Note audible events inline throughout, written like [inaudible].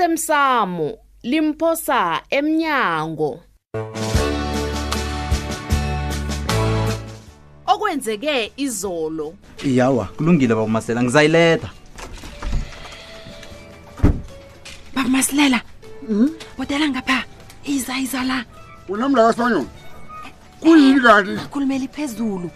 osemsamo limphosa emnyango okwenzeke izolo iyawa kulungile babumasela ngizayiletha baba masilela Hmm? botela ngapha iza iza la Eh, unamlaka sibanyoni kuyini kanti khulumeli phezulu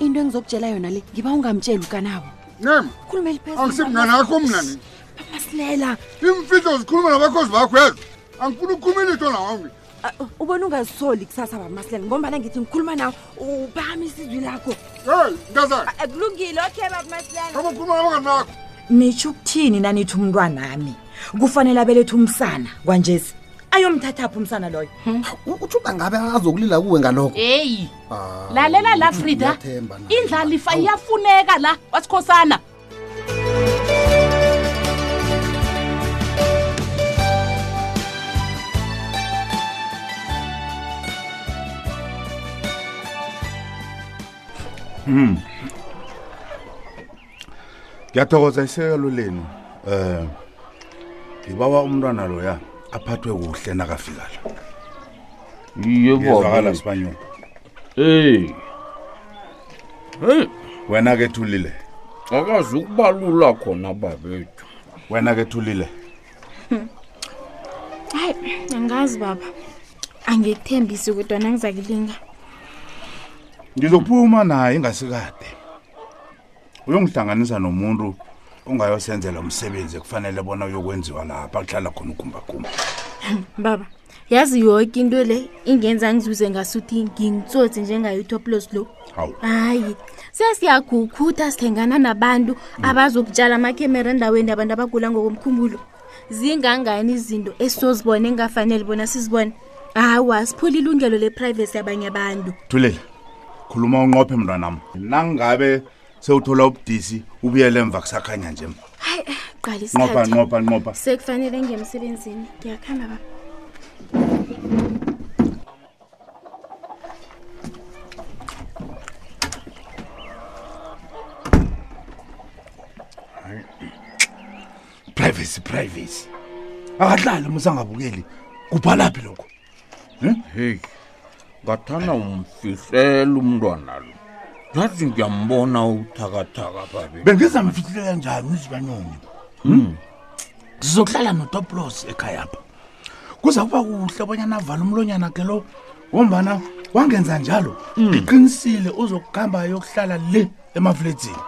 into engizokutshela yona le ngiba ungamtsheli ukanawo nema khulumeli phezulu angisimnganakho mna ni baba masilela imfihlo zikhuluma nabakhozi bakho yezo angifuna ukukhuluma ilitho nawami Ah, ubona ungazisoli kusasa baba masilela ngombana ngithi ngikhuluma nawo uphakamisa izwi lakho ey ngazana kulungile okay baba masilela kama ukhuluma nabanganakho nitsho ukuthini nanithi umntwanami kufanele abelethe umsana kwanjesi ayomthathapha umsana loyo utsho uba ngabe azokulila kuwe ngalokho heyi lalela la frida ngiyathemba nawe. indlalifa iyafuneka la wasikhosana ngiyathokoza isekelo lenu um ngibawa umntwana loya aphathwe kuhle nakafika la iye ngezwakala baba sibanyoni eyi heyi wena ke thulile akazi ukubalula khona babethu wena ke thulile hayi angazi baba angikuthembisi kodwana ngizakulinga ngizophuma naye ingasikade uyongihlanganisa nomuntu ongayosenzela umsebenzi ekufanele bona uyokwenziwa lapha kuhlala khona ugumbagumba baba yazi yoke into le ingenza ngizuze ngasuthi ngingitsotsi njengayo itoplos lo hawu hayi sesiyagukhutha sithengana nabantu abazokutshala amakhemera endaweni abantu abagula ngokomkhumbulo zingangani izinto esizozibona engafanele bona sizibone hawa siphula ilungelo leprivesi yabanye abantu thulile khuluma unqophe mntwanam nangabe sewuthola ubudisi ubuyele emva kusakhanya nje hayi eh, qala nqopha isikhathi nqopha nqopha sekufanele ngemsebenzini ngiyakhamba baba privacy privacy akahlali musangabukeli kubhalaphi lokho Hmm? heyi ngathana umfihlela umntwana lo yazi ngiyambona uthakathaka babethu bengizamfihlela njani Hmm? izibanyoni Hmm. sizokuhlala notoplos ekhaya apha kuza kuba kuhle obanyana avala umlonyana ke lo wombana wangenza njalo Hmm. ngiqinisile uzokuhamba yokuhlala le emafledzini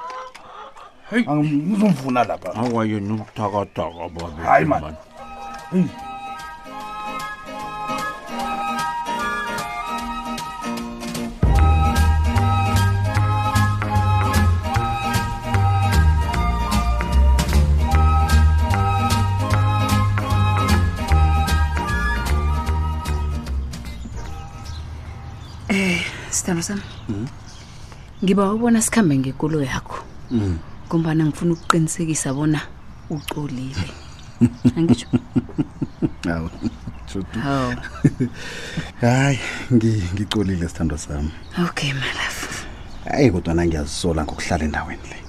Hey. ngizomfuna lapha awa yena ubuthakathaka babethu Hayi, man. man. sithando sami ngiba ubona sikhambe ngekolo yakho ngombana ngifuna ukuqinisekisa bona uxolile angitsho Hawu, hawu [laughs] hayi ngi- ngicolile sithandwa sami okay malafu hayi kodwana ngiyazisola ngokuhlala endaweni le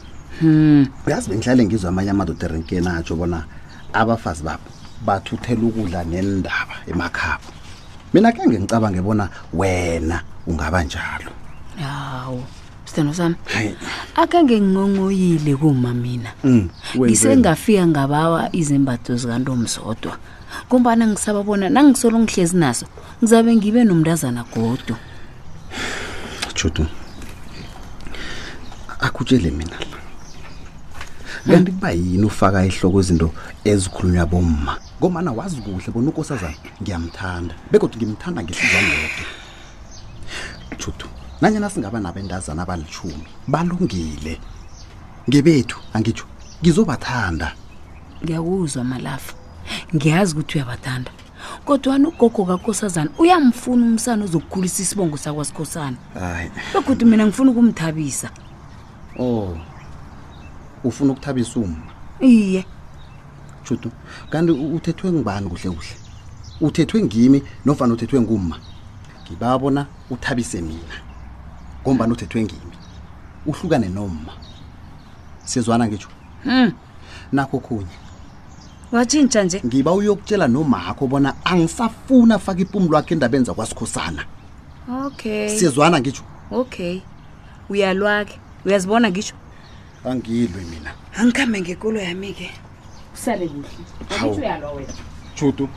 uyazi bengihlale ngizwa amanye amadoda erenkeni atsho bona abafazi babo bathuthela ukudla nendaba emakhabo mina ke ngengicabange bona wena ungaba njalo hawu sithando sami hayi akange ngingongoyile kuma mina Mm, wenzeni? ngisengafika ngabawa izembatho zikantomzodwa ngombana ngisaba bona nangisolo ngihlezi naso ngizabe ngibe nomntazana godo judu akutshele mina la kanti kuba yini ufaka ihloko izinto ezikhulunywa bomma ngomana wazi kuhle bona ukosazana ngiyamthanda bekodwa ngimthanda ngehlizanyoke judu nanyana singaba nabendazana abalishumi balungile ngebethu angitsho ngizobathanda ngiyakuzwa malafu ngiyazi ukuthi uyabathanda kodwana ugogo kakosazana uyamfuna umsana ozokukhulisa isibongo sakwasikhosana hayi begodwa mina ngifuna ukumthabisa oh ufuna ukuthabisa uma iye Judu, kanti u- uthethwe ngibani kuhle kuhle? Uthethwe ngimi nofana uthethwe nguma? Ngibabona uthabise mina. Ngombani uthethwe ngimi. Uhlukane noma. Sizwana ngisho. Mhm. Nakho khunye. watshintsha nje ngiba uyokutshela nomakho bona angisafuna afake ipumulo wakhe endabeni zakwasikhosana okay siyezwana ngitsho okay uyalwa-ke uyazibona ngisho angilwe mina angikhambe ngekolo yami-ke usale kuhle Hawu. Angithi uyalwa wena judu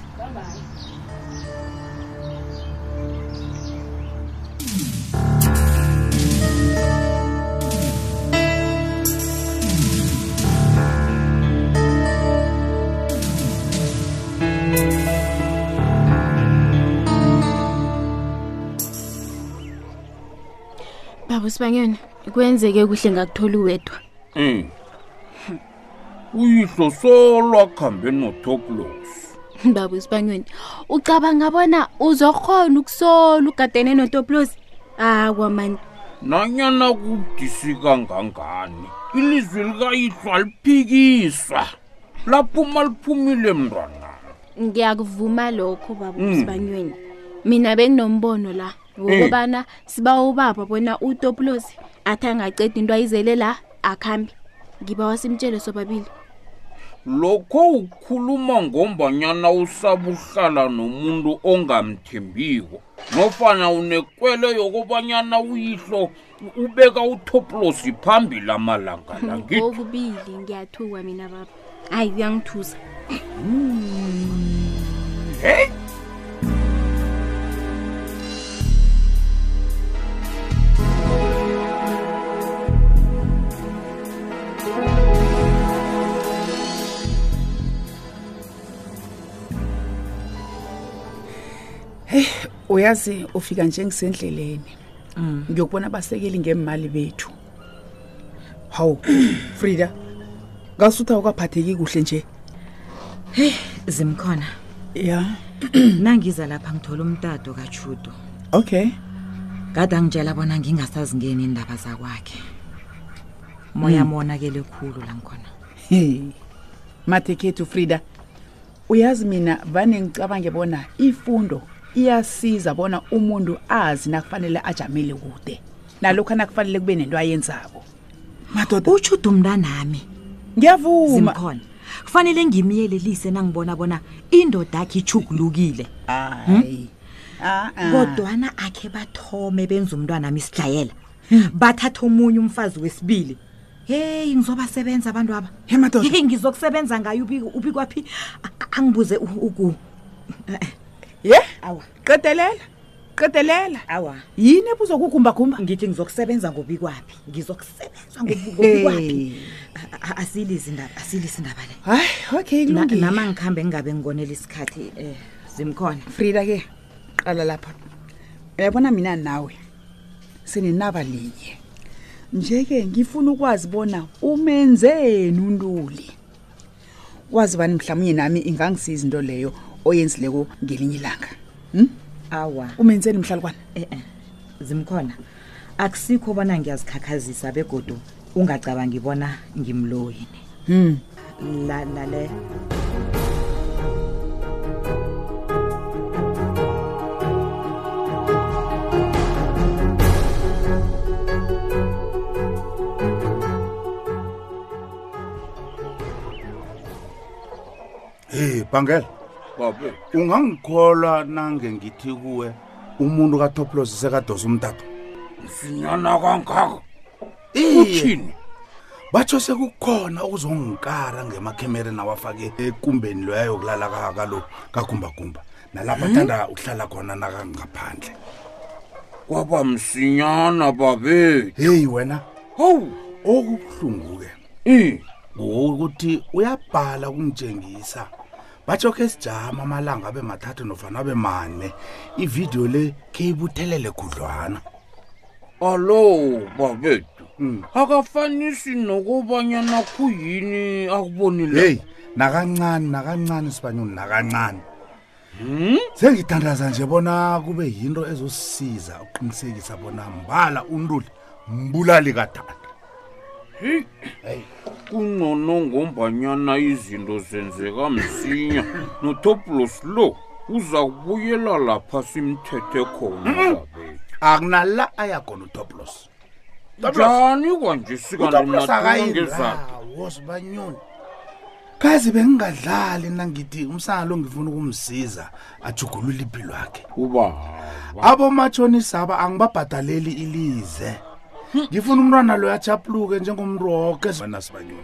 baba sibanyana kwenzeke kuhle ngakutholi wedwa um uyihlo solo akuhambe notoplos [laughs] baba sibanyana ucabanga bona uzokhona ukusola ugadene notoplosi akwamani nanyana kudisi kangangani ilizwi likayihlo aliphikiswa laphuma liphumile mntwana ngiyakuvuma lokho baba Mm. sibanyweni mina benginombono la ngokubana siba ubaba bona utopulosi athi angaceda into ayizele la akhambi ngibawa simtshele sobabili lokho ukhuluma ngombanyana usaba uhlala nomuntu ongamthembiko nofana unekwele yokobanyana uyihlo ubeka utoplosi phambili amalanga la ngithi ngokubili ngiyathuka mina baba hayi uyangithusa hey heyi uyazi ufika nje ngisendleleni ngiyokubona abasekeli ngemali bethu hawu frida ngasuthi awukaphatheki kuhle nje heyi zimkhona ya [clears throat] nangiza lapha ngithola umtato kachudo okay kade angitshela bona ngingasazingeni iindaba zakwakhe moya Mm. monakele khulu la ngikhona Hey. mathekhethu frida uyazi mina vane ngicabange bona ifundo iyasiza bona umuntu azi nakufanele ajamele kude nalokhu anakufanele kube nento ayenzabo madoda utshuda umntanami ngiyavuma zimkhona kufanele ngimyelelise nangibona bona indoda akhe ichugulukile hayi kodwana akhe bathome benza umntwanami isidlayela bathatha omunye umfazi wesibili heyi ngizobasebenza abantu aba madoda. Hey, ngizokusebenza ngayo ubi- ubikwaphi A- a- angibuze u- uku ye awa qedelela qedelela awa yini ebuzokugumbagumba ngithi ngizokusebenza ngobikwaphi ngizokusebenza ngob- ngobikwaphi A- a- asilisi indaba asilisi indaba le hayi okay Na- kulungile. nama ngikhambe ngingabe ngikonela isikhathi um zimkhona frida ke qala lapha uyabona mina nawe sininaba linye nje-ke ngifuna ukwazi bona umenzeni untuli wazi bani mhlawumnye nami ingangisiza into leyo oyenzileko ngelinye ilanga hmm? awa umenzeni mhlalukwana e-e zimkhona akusikho bona ngiyazikhakhazisa begodu ungacabangi bona ngimloyini hmm. La- lale hey bhangela babe ungangikholwa nange ngithi kuwe umuntu katoplosi sekadosa umtato msinyana kangaka uthini batsho sekukhona uzongikara ngemakhemereni awafake ekumbeni loyayo kulala ka- kalo kagumbagumba nalapha Hmm? thanda uhlala khona nakangaphandle kwaba msinyana babethu heyi wena hawu eh, okubuhlungu-ke ngokuthi uyabhala kungitshengisa batsho ke sijama amalanga abe mathathu nofana abe mane ividiyo le kheyibuthelele khudlwana alo babethu akafanisi nokobanyana kuyini akubonile heyi nakancane nakancane sibanyoni nakancane sengithandaza nje bona kube yinto ezosisiza uqinisekisa bona mbala untuli mbulali kadala Hey, kungcono ngombanyana izinto zenzeka msinya notoplos lo uza kubuyela lapha simthethe khona babethu akunala aya khona utoplos Toplos. njani kwanje utoplos akayindawo sikanamnaangezakhe sibanyoni kazi bengingadlali nangithi umsana lo ngifuna ukumsiza ajugulule impilo yakhe uba abomatshonisa aba angibabhadaleli ilize ngifuna umntwana loyo ajapuluke njengomuntu woke ebanasibanyoni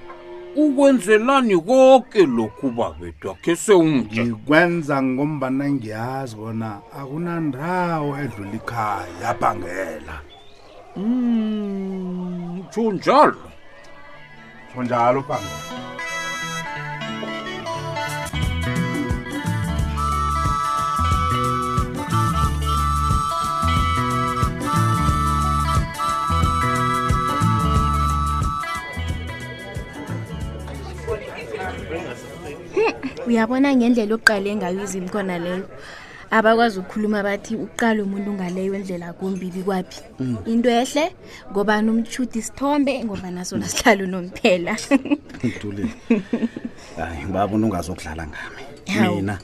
ukwenzelani konke lokhu babedwa khe sewunge ngikwenza ngombana ngiyazi bona akunandawo edlula ikhaya yabhangela tsho njalo tsho njalo bhangela uyabona ngendlela oqale ngayo izimkhona leyo abakwazi ukukhuluma bathi uqale umuntu ngaleyo ndlela kumbibi kwaphi Mm. into ehle ngobani umtshudi isithombe ngoba nasona sihlalo nomphela [laughs] ngitulile hayi ngibabona ungazokudlala ngami Hawu. mina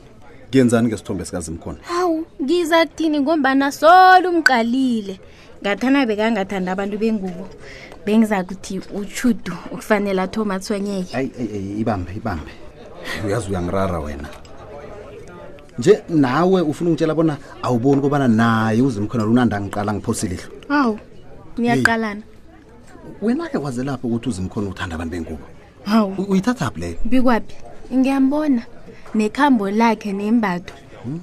ngiyenzani ngesithombe sikazimkhona hawu ngiza kuthini ngombana solo umqalile ngathana bekangathanda abantu bengubo bengiza kuthi utshudu ukufanele athoma athonyeke ayi ayi, ayi ibambe ibambe uyazi uyangirara wena nje nawe ufuna ungitshela bona awuboni kobana naye uzimkhona lunanda ngiqala ngiphose ilihlo hawu niyaqalana wena-ke waze lapho ukuthi uzimkhona uthanda abantu bengubo hawu U- uyithathaphi leyo bikwaphi ngiyambona nekhambo lakhe nembatho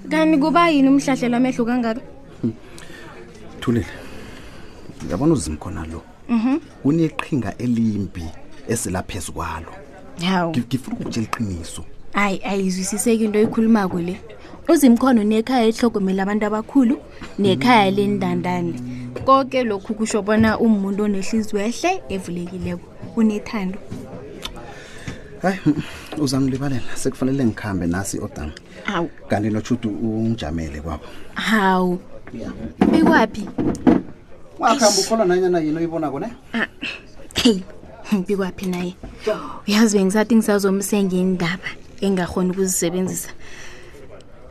kanti kuba yini umhlahle lwamehlo kangaka thulile uyabona uzimkhona lo Mhm. uneqhinga elimbi esilaphezu kwalo hawu Ngi- ngifuna ukutshela iqiniso hayi ayizwisiseki into oyikhulumako le uzimkhono nekhaya ehlokomela abantu abakhulu nekhaya lendandane konke lokhu kusho bona umuntu onehliziyo ehle evulekileko unethando hayi mm, uzangilibalela sekufanele ngikhambe nasi iodam hawu kanti notshuti ungijamele kwabo hawu bikwaphi ungakhamba ukholwa nanyana yini oyibonako ne heyi bikwaphi naye uyazi bengisathi ngisazomsenga indaba engingakhoni ukuzisebenzisa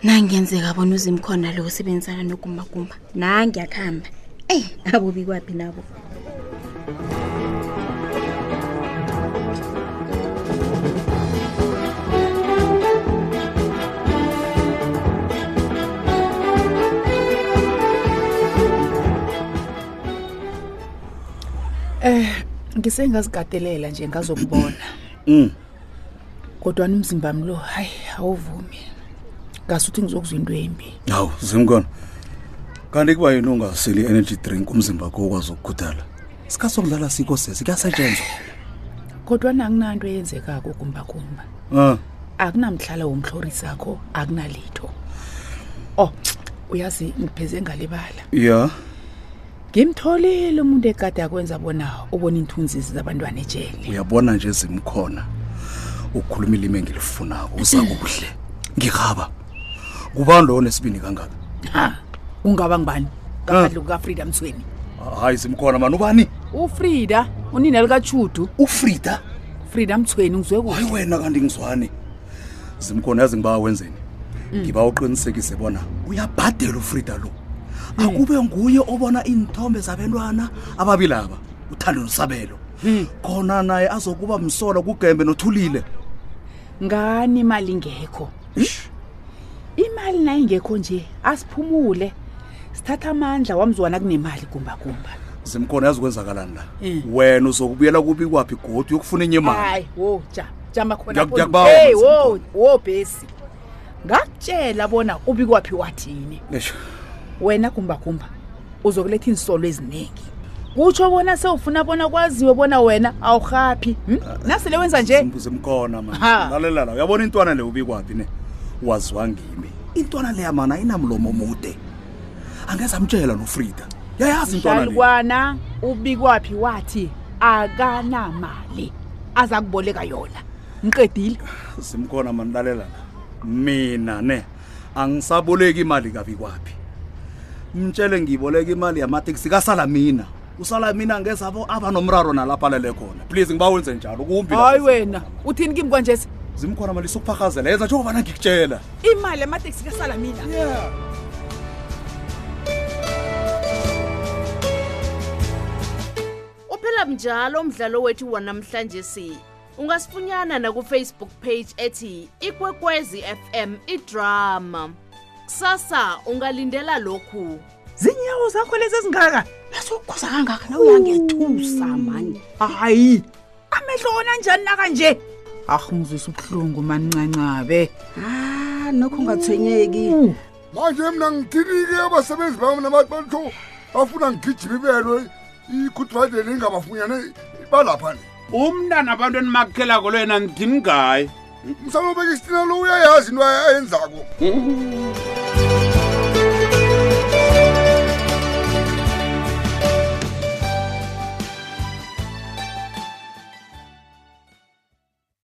nangenzeka bona uzimkhona lo usebenzisana nogumbagumba nangiyakuhamba eyi abo bikwaphi nabo Eh ngisengazikatelela nje ngazokubona. Mm. Kodwa umzimba wami lo hayi awuvumi. Ngasuthi ngizokuzwa into embi. hawu zimkona kanti kuba yini ungaseli i-energy drink umzimba wakho ukwazi ukugudala sikhathi sokudlala sikho sesi kuyasetshenzwa Kodwa nanginanto eyenzekako kumba kumba. Ah, um Akunamhlala womhlorisi sakho akunalitho. Oh uyazi ngipheze ngalibala. ya Ngimtholile umuntu ekade akwenza bona ubona inthunzi zabantwana ejele. uyabona nje zimkhona ukhuluma ilimi engilifunako uza kuhle ngirhaba ngubani lowo nesibini kangaka Ha ungaba ngibani? Ngaphandle kukaFrida Mtsweni. hayi zimkhona mani ubani ufrida unina likachudu ufrida frida mthweni ngizwe hayi wena kanti ngizwani zimkhona yazi ngiba wenzeni Mm. ngiba uqinisekise bona uyabhadela ufrida lo akube nguye obona iinthombe zabentwana ababili aba uthando nosabelo khona naye azokuba msola kugembe nothulile ngani imali ingekho imali nayingekho nje asiphumule sithatha amandla wamzwana kunemali kumbakumba zimkhona yazi kwenzakalani la Mm. wena uzokubuyela kubi kwaphi godi uyokufuna enye imali hayi wo ja jama khona phola. Ngiyak- ngiyakubawa, Hey, Mzimkhulu. wo wo bhesi ngakutshela bona ubi kwaphi wathini Eish, wena kumbakumba uzokuletha insolo eziningi kutsho bona sewufuna bona kwaziwe bona wena awurhaphi hm? nasele wenza nje Zim- zimkhona Ha. man lalela la uyabona intwana le ubi kwaphi ne waziwa ngimi intwana leya mana ayinamlomo omude angezamtshela nofrida yayazi intwana le mhlalukwana ubikwaphi wathi akanamali aza kuboleka yona mqedile simkhona manilalela la mina ne angisaboleki imali kabi kwaphi mtshele ngiyiboleka imali yamateksi kasalamina usalamina ngezabo aba nomraro nalapha alele khona please ngiba wenze njalo kumbi la. hayi wena uthini kimi kwanjesi zimkhona mali sokuphakazela yenza njengobana ngikutshela imali yamateksi kasalamina uphela mnjalo umdlalo wethu wanamhlanje si ungasifunyana nakufacebook page ethi ikwekwezi fm idrama kusasa ungalindela lokhu zinyawo zakho lezi ezingaka nasokhoza kangaka na uyangethusa mani hayi amehlo ona njani nakanje arh ngizwisa ubuhlungu mancancabe a nokho ungathwenyeki manje mna ngithini-ke abasebenzi bami nabantu batho bafuna ngigijima ibelwe ikhudrade lingabafunyane balapha ni umntana abantu enimakhelako lo yena ngithini ngaye msalobeka isitina lo uyayazi into ayenzako